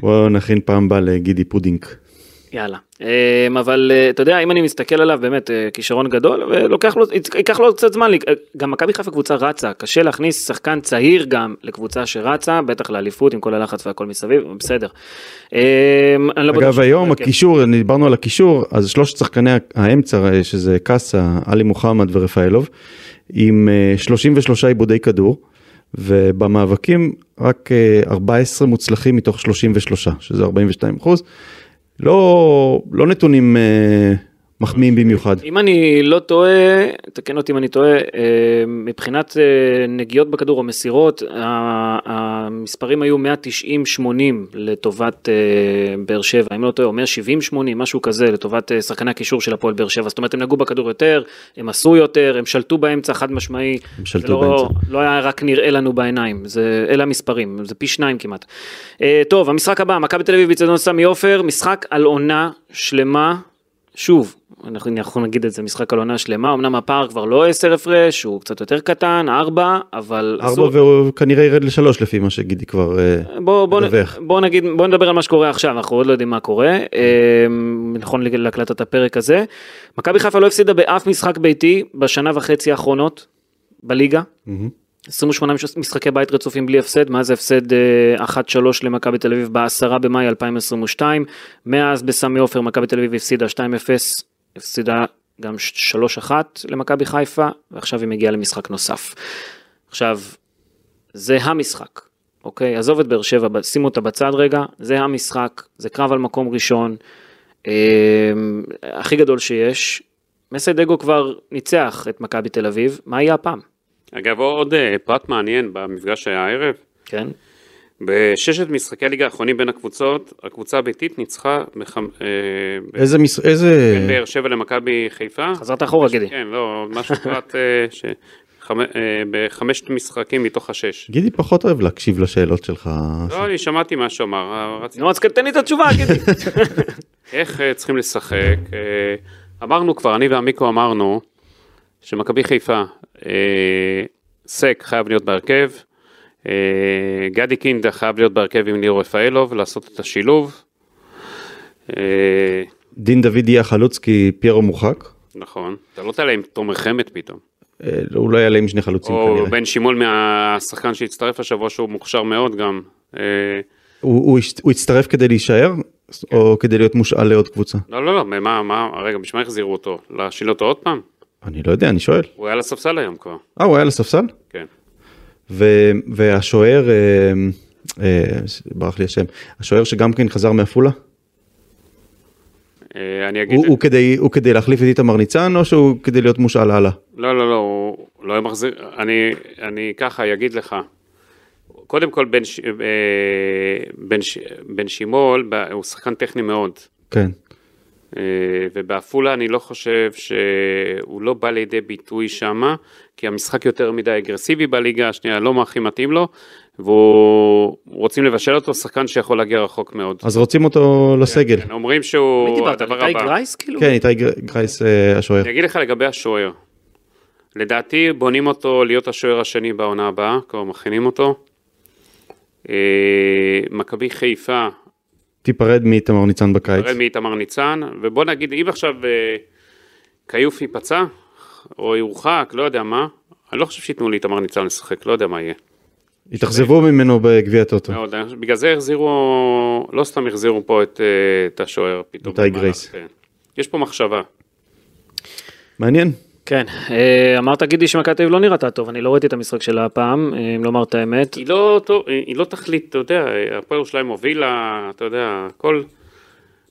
בואו נכין פעם הבאה לגידי פודינג.
יאללה. אמ, אבל אה, אתה יודע, אם אני מסתכל עליו, באמת, אה, כישרון גדול, ולוקח לו, יצ- ייקח לו עוד קצת זמן, לי- אה, גם מכבי חיפה קבוצה רצה, קשה להכניס שחקן צעיר גם לקבוצה שרצה, בטח לאליפות עם כל הלחץ והכל מסביב, אבל בסדר. אמ, אני לא בטוח
אגב
ש-
היום
כן.
הקישור, דיברנו על הקישור, אז שלושת שחקני האמצע אה, שזה קאסה, עלי מוחמד ורפאלוב, עם אה, 33 עיבודי כדור, ובמאבקים רק אה, 14 מוצלחים מתוך 33, שזה 42 אחוז. לא, לא נתונים אה, מחמיאים במיוחד.
אם אני לא טועה, תקן אותי אם אני טועה, אה, מבחינת אה, נגיעות בכדור או מסירות, ה- המספרים היו 190-80 לטובת אה, באר שבע, אם לא טועה, או 170-80, משהו כזה, לטובת אה, שחקני הקישור של הפועל באר שבע. זאת אומרת, הם נגעו בכדור יותר, הם עשו יותר, הם שלטו באמצע, חד משמעי.
הם שלטו
זה לא,
באמצע.
לא היה רק נראה לנו בעיניים, זה, אלה המספרים, זה פי שניים כמעט. אה, טוב, המשחק הבא, מכבי תל אביב בצדון סמי עופר, משחק על עונה שלמה, שוב, אנחנו, אנחנו נגיד את זה, משחק על עונה שלמה, אמנם הפער כבר לא 10 הפרש, הוא קצת יותר קטן, 4, אבל
ארבע והוא כנראה ירד לשלוש לפי מה שגידי כבר... אה,
בוא, בוא,
לדווח.
בוא נגיד, בוא נדבר על מה שקורה עכשיו, אנחנו עוד לא יודעים מה קורה, אה, נכון להקלטת הפרק הזה. מכבי חיפה לא הפסידה באף משחק ביתי בשנה וחצי האחרונות בליגה. 28 מש- משחקי בית רצופים בלי הפסד, מאז ההפסד אה, 1-3 למכבי תל אביב ב-10 במאי 2022, מאז בסמי עופר מכבי תל אביב הפסידה 2-0, הפסידה גם 3-1 למכבי חיפה, ועכשיו היא מגיעה למשחק נוסף. עכשיו, זה המשחק, אוקיי? עזוב את באר שבע, ב- שימו אותה בצד רגע, זה המשחק, זה קרב על מקום ראשון, אה, הכי גדול שיש. מסיידגו כבר ניצח את מכבי תל אביב, מה יהיה הפעם?
אגב, עוד אה, פרט מעניין במפגש שהיה הערב,
כן?
בששת משחקי הליגה האחרונים בין הקבוצות, הקבוצה הביתית ניצחה בחמ... אה, ב-
איזה מש... איזה...
בין
אה.
באר שבע למכבי חיפה.
חזרת אחורה, גידי.
כן, לא, משהו פרט אה, ש... חמ... אה, בחמשת משחקים מתוך השש.
גידי פחות אוהב להקשיב לשאלות שלך.
לא, אני שמעתי מה שהוא אמר, אה, רציתי...
נו, אז כן, תן לי את התשובה, גידי.
איך אה, צריכים לשחק? אה, אמרנו כבר, אני ועמיקו אמרנו, שמכבי חיפה, אה, סק חייב להיות בהרכב, אה, גדי קינדה חייב להיות בהרכב עם ליאור רפאלוב, לעשות את השילוב. אה,
דין דוד יהיה החלוץ כי פיירו מורחק.
נכון, אתה לא תעלה עם תומר חמד פתאום.
אה, לא, הוא לא יעלה עם שני חלוצים
או
כנראה.
בן שמעון מהשחקן שהצטרף השבוע שהוא מוכשר מאוד גם. אה,
הוא, הוא, הש- הוא יצטרף כדי להישאר או כדי להיות מושאל לעוד קבוצה?
לא, לא, לא, מה, מה, רגע, בשביל מה החזירו אותו? להשאיל אותו עוד פעם?
אני לא יודע, אני שואל.
הוא היה על הספסל היום כבר,
אה, הוא היה על הספסל?
כן.
ו- והשוער, אה, אה, ברח לי השם, השוער שגם כן חזר מעפולה?
אה, אני אגיד...
הוא, הוא, כדי, הוא כדי להחליף את איתמר ניצן או שהוא כדי להיות מושאל הלאה?
לא, לא, לא, הוא לא היה מחזיר, אני, אני ככה אגיד לך. קודם כל, בן, ש- אה, בן, ש- בן שימול, ב- הוא שחקן טכני מאוד,
כן.
אה, ובעפולה אני לא חושב שהוא לא בא לידי ביטוי שמה, כי המשחק יותר מדי אגרסיבי בליגה השנייה, לא מה הכי מתאים לו, והוא, רוצים לבשל אותו, שחקן שיכול להגיע רחוק מאוד.
אז רוצים אותו לסגל.
כן, אומרים שהוא...
מי דיברת?
הדבר
איתי
הבא.
גרייס, כאילו?
כן, איתי גר- גרייס אה, השוער.
אני אגיד לך לגבי השוער. לדעתי בונים אותו להיות השוער השני בעונה הבאה, כבר מכינים אותו. אה, מכבי חיפה,
תיפרד מאיתמר ניצן בקיץ.
נראה מאיתמר ניצן, ובוא נגיד, אם עכשיו אה, כיוף ייפצע, או יורחק, לא יודע מה, אני לא חושב שייתנו לאיתמר ניצן לשחק, לא יודע מה יהיה.
התאכזבו ממנו בגביע הטוטו.
מאוד, אני חושב- בגלל זה החזירו, לא סתם החזירו פה את, אה, את השוער פתאום.
איתי גרייס.
כן. יש פה מחשבה.
מעניין.
כן. אה, אמרת, גידי, שמכבי תל אביב לא נראתה טוב, אני לא ראיתי את המשחק שלה הפעם, אה, אם לומר את האמת.
היא לא, טוב, היא לא תכלית, אתה יודע, הפועל ירושלים הובילה, אתה יודע, הכל.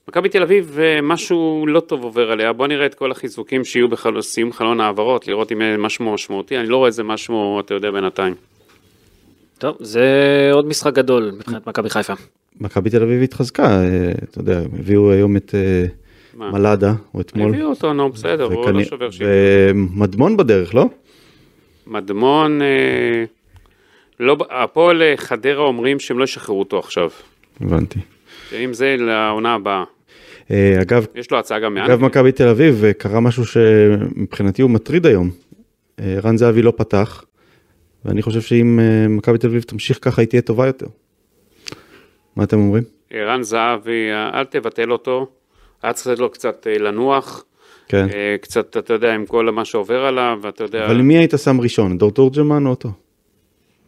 מכבי תל אביב, אה, משהו לא טוב עובר עליה, בוא נראה את כל החיזוקים שיהיו בחל- סיום חלון העברות, לראות אם יהיה משהו משמעותי, אני לא רואה איזה משהו, אתה יודע, בינתיים.
טוב, זה עוד משחק גדול מבחינת מכבי חיפה.
מכבי תל אביב התחזקה, אה, אתה יודע, הם הביאו היום את אה,
מה?
מלאדה, או אתמול.
הביאו אותו, נו, בסדר, הוא לא
וכנראה-
שובר שיעים.
ומדמון בדרך, לא?
מדמון, אה, לא, ב- הפועל אה, חדרה אומרים שהם לא ישחררו אותו עכשיו,
הבנתי.
אם זה לעונה הבאה.
אה, אגב,
יש לו הצעה גם מאן.
אגב מכבי תל אביב, אה, קרה משהו שמבחינתי הוא מטריד היום. אה, רן זהבי לא פתח, ואני חושב שאם אה, מכבי תל אביב תמשיך ככה, היא תהיה טובה יותר. מה אתם אומרים?
ערן זהבי, אה, אל תבטל אותו, היה צריך לתת לו קצת אה, לנוח,
כן.
אה, קצת, אתה יודע, עם כל מה שעובר עליו, ואתה יודע,
אבל מי היית שם ראשון, דור תורג'מן או אותו?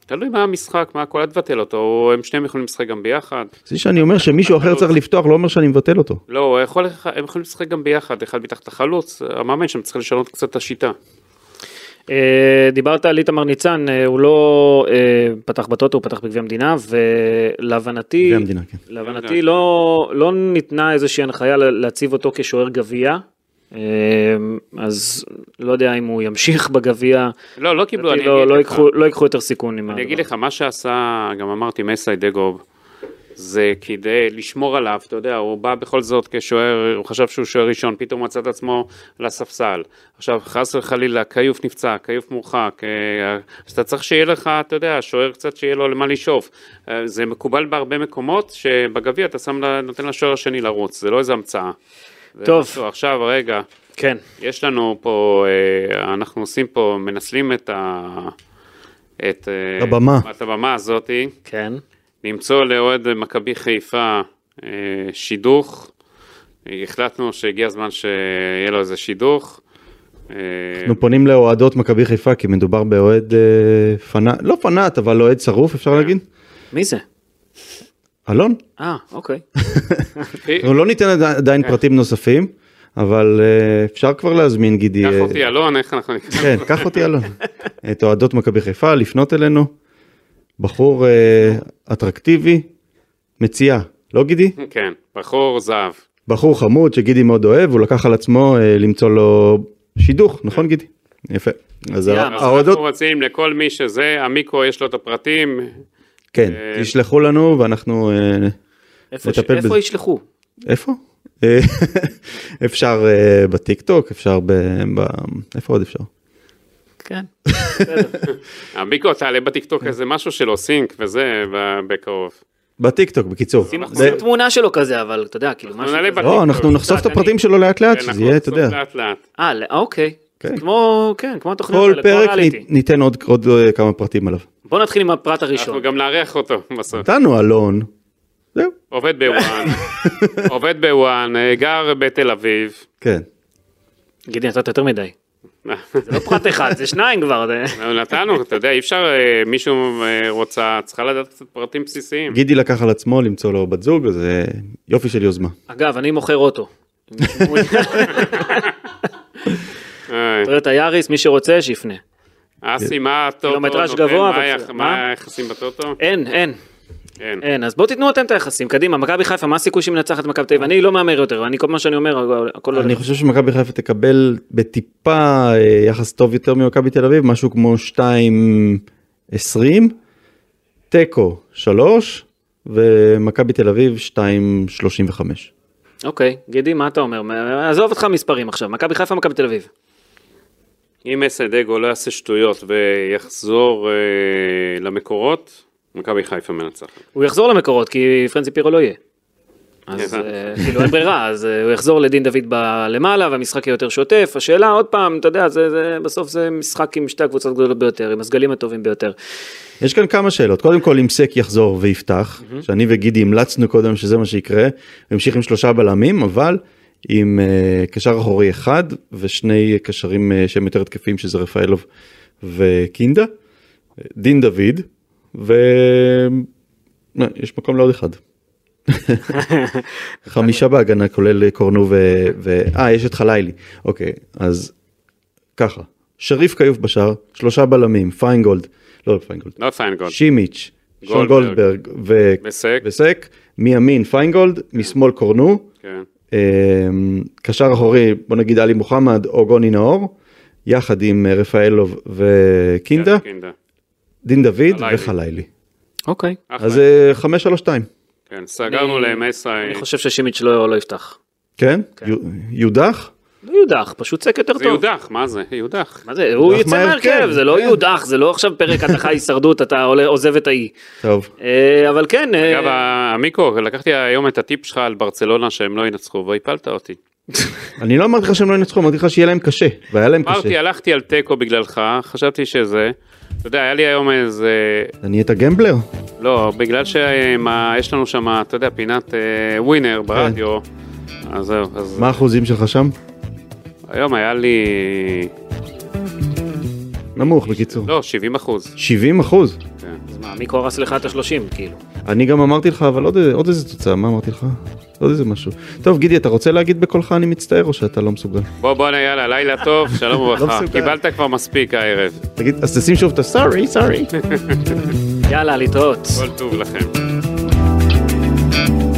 תלוי מה המשחק, מה הכל, אל תבטל אותו, הוא- הם שניהם יכולים לשחק גם ביחד.
זה שאני
אה,
אומר שמישהו אחר צריך לפתוח, לא אומר שאני מבטל אותו.
לא, הוא יכול, הם יכולים לשחק גם ביחד, אחד מתחת החלוץ, המאמן שם צריך לשנות קצת את השיטה.
אה, דיברת על איתמר ניצן, אה, הוא לא אה, פתח בטוטו, הוא פתח בגביע המדינה, ולהבנתי,
זה המדינה, כן.
להבנתי לא, לא ניתנה איזושהי הנחיה לה- להציב אותו כשוער גביע, אה, אז לא יודע אם הוא ימשיך בגביע,
לא, לא קיבלו, אני
לדעתי לא-
אגיד
לא
לך.
ייקחו- לא ייקחו יותר סיכון עם
אני
הדבר.
אגיד לך, מה שעשה, גם אמרתי, מסי דגוב, זה כדי לשמור עליו, אתה יודע, הוא בא בכל זאת כשוער, הוא חשב שהוא שוער ראשון, פתאום מצא את עצמו לספסל. עכשיו, חס וחלילה, כיוף נפצע, כיוף מורחק, אה, אז אתה צריך שיהיה לך, אתה יודע, שוער קצת שיהיה לו למה לשאוף. אה, זה מקובל בהרבה מקומות, שבגביע אתה שם, ל- נותן לשוער השני לרוץ, זה לא איזה המצאה. זה
טוב.
משהו, עכשיו, רגע,
כן,
יש לנו פה, אה, אנחנו עושים פה, מנצלים את ה... את אה,
הבמה.
את הבמה הזאתי,
כן.
למצוא לאוהד מכבי חיפה אה, שידוך. אה, החלטנו שהגיע הזמן שיהיה לו איזה שידוך. אה,
אנחנו פונים לאוהדות מכבי חיפה, כי מדובר באוהד אה, פנאט, לא פנאט, אבל אוהד שרוף,
כן.
אפשר להגיד?
מי זה?
אלון?
אה, אוקיי.
אה,
אנחנו לא ניתן עדי- עדיין פרטים נוספים, אבל אה, אפשר כבר להזמין, גידי.
קח
אה,
אותי אלון, איך אנחנו נקרא?
כן, קח אותי אלון. את אוהדות מכבי חיפה, לפנות אלינו. בחור אה, אטרקטיבי, מציאה, לא גידי?
כן, בחור זהב.
בחור חמוד שגידי מאוד אוהב, הוא לקח על עצמו אה, למצוא לו שידוך, נכון גידי? יפה. אז
ים.
ה-
אז אנחנו
אה, האוהדות,
רוצים לכל מי שזה, המיקרו יש לו את הפרטים,
כן,
אה,
תשלחו לנו ואנחנו, אה,
איפה ש-
נטפל
איפה
בזה.
ישלחו?
איפה? אה, אפשר אה, בטיקטוק, אפשר ב... ב- איפה עוד אפשר?
כן.
המיקרו תעלה
כן.
בטיקטוק איזה משהו שלו, סינק וזה, ב- בקרוב.
בטיקטוק, בקיצור. זה-
זה תמונה שלו כזה, אבל אתה יודע, כאילו משהו
נעלה
כזה.
בת-
לא, אנחנו נחשוף את הפרטים שלו לאט לאט, שזה יהיה, אתה יודע.
כן, נכון, לאט לאט.
אה, לא, אוקיי.
כן.
כמו, כן, כמו התוכניות
כל
האלה, כמו
פרק
הריאליטי.
נ- ניתן עוד עוד, אה, כמה פרטים עליו.
אוקיי.
בוא נתחיל עם הפרט
אנחנו
הראשון.
גם נארח אותו בסוף.
נתנו אלון, זהו,
עובד בוואן, עובד בוואן, אה, גר בתל אביב.
כן.
גידי, נתת יותר מדי. זה לא פרט אחד, זה שניים כבר. זה-
נתנו, אתה יודע, אי אפשר, אה, מישהו אה, רוצה, צריכה לדעת קצת פרטים בסיסיים.
גידי לקח על עצמו למצוא לו בת זוג, אז אה, יופי של יוזמה.
אגב, אני מוכר אוטו.
אה,
תראה את היאריס, מי שרוצה, שיפנה.
אסי, מה הטוטו
קילומטראז'
נותן?
גבוה,
מה
אבל
היח-
בסדר.
מה
מה?
היחסים בטוטו?
אין, אין,
אין.
אין. אז בואו תיתנו אתם את היחסים. קדימה, מכבי חיפה, מה הסיכוי שהיא מנצחת מכבי תל אביב? אני לא מהמר יותר, אני כל מה שאני אומר, הכל
אני
הולך.
חושב שמכבי חיפה תקבל בטיפה אה, יחס טוב יותר ממכבי תל אביב, משהו כמו 2.20, תיקו 3, ומכבי תל אביב 2.35.
אוקיי, גידי, מה אתה אומר? מה- עזוב אותך מספרים עכשיו, מכבי חיפה, מכבי תל אביב.
אם אסיידגו לא יעשה שטויות ויחזור אה, למקורות, מכבי חיפה מנצחת.
הוא יחזור למקורות, כי פרנסי פירו לא יהיה. אז
הבנתי.
אה, כאילו אין ברירה, אז אה, הוא יחזור לדין דוד ב- למעלה והמשחק יהיה יותר שוטף. השאלה עוד פעם, אתה יודע, זה, זה, בסוף זה משחק עם שתי הקבוצות הגדולות ביותר, עם הסגלים הטובים ביותר.
יש כאן כמה שאלות, קודם כל אם סק יחזור ויפתח, שאני וגידי המלצנו קודם שזה מה שיקרה, הוא המשיך עם שלושה בלמים, אבל עם אה, קשר אחורי אחד ושני קשרים אה, שהם יותר התקפיים שזה רפאלוב וקינדה, אה, דין דוד, ו... אה, יש מקום לעוד אחד. חמישה בהגנה כולל קורנו ו... ו... אה, יש את חלילי, אוקיי, אז ככה, שריף כיוף בשער, שלושה בלמים, פיינגולד, לא פיינגולד,
לא פיינגולד.
שימיץ', שון
גולדברג.
גולדברג ו-
וסק.
וסק, מימין פיינגולד, משמאל קורנו,
כן.
אמ, קשר אחורי בוא נגיד עלי מוחמד או גוני נאור, יחד עם אה, רפאלוב וקינדה,
כן, קינדה.
דין דוד
כן. חלילי.
וחלילי.
אוקיי.
אחלה.
אז אה, 5-3-2,
כן, סגרנו
אני-
להם אסאי.
אני חושב ששימיץ' לא, לא יפתח.
כן? יו- יודח?
לא יודח, פשוט סק יותר
זה
טוב.
יודח, מה זה? יודח.
מה זה, הוא
יודח
יצא
מההרכב,
מהרכב, זה לא
כן.
יודח, זה לא עכשיו פרק הדחה הישרדות, אתה עולה- עוזב את האי.
טוב,
אה, אבל כן, אה,
אגב, המיקרו, לקחתי היום את הטיפ שלך על ברצלונה שהם לא ינצחו, והפלת אותי.
אני לא אמרתי לך שהם לא ינצחו, אמרתי לך שיהיה להם קשה, והיה להם
אמרתי,
קשה.
הלכתי על תיקו בגללך, חשבתי שזה. אתה יודע, היה לי היום איזה...
אתה נהיית גמבלר?
לא, בגלל שיש לנו שם, אתה יודע, פינת אה, ווינר ברדיו. אז זהו, אז...
כן. מה האחוזים שלך שם?
היום היה לי,
נמוך בקיצור.
לא, 70 אחוז. כן,
70 אחוז.
אז מה, מיקו הרס לך את השלושים, כאילו.
אני גם אמרתי לך אבל עוד, עוד איזה תוצאה מה אמרתי לך עוד איזה משהו טוב גידי אתה רוצה להגיד בקולך אני מצטער או שאתה לא מסוגל
בוא, בוא, יאללה, לילה טוב, שלום וברכה.
לא מסוגל.
קיבלת כבר מספיק הערב.
תגיד אז תשים שוב את הסארי סארי
יאללה, להתראות.
כל טוב לכם.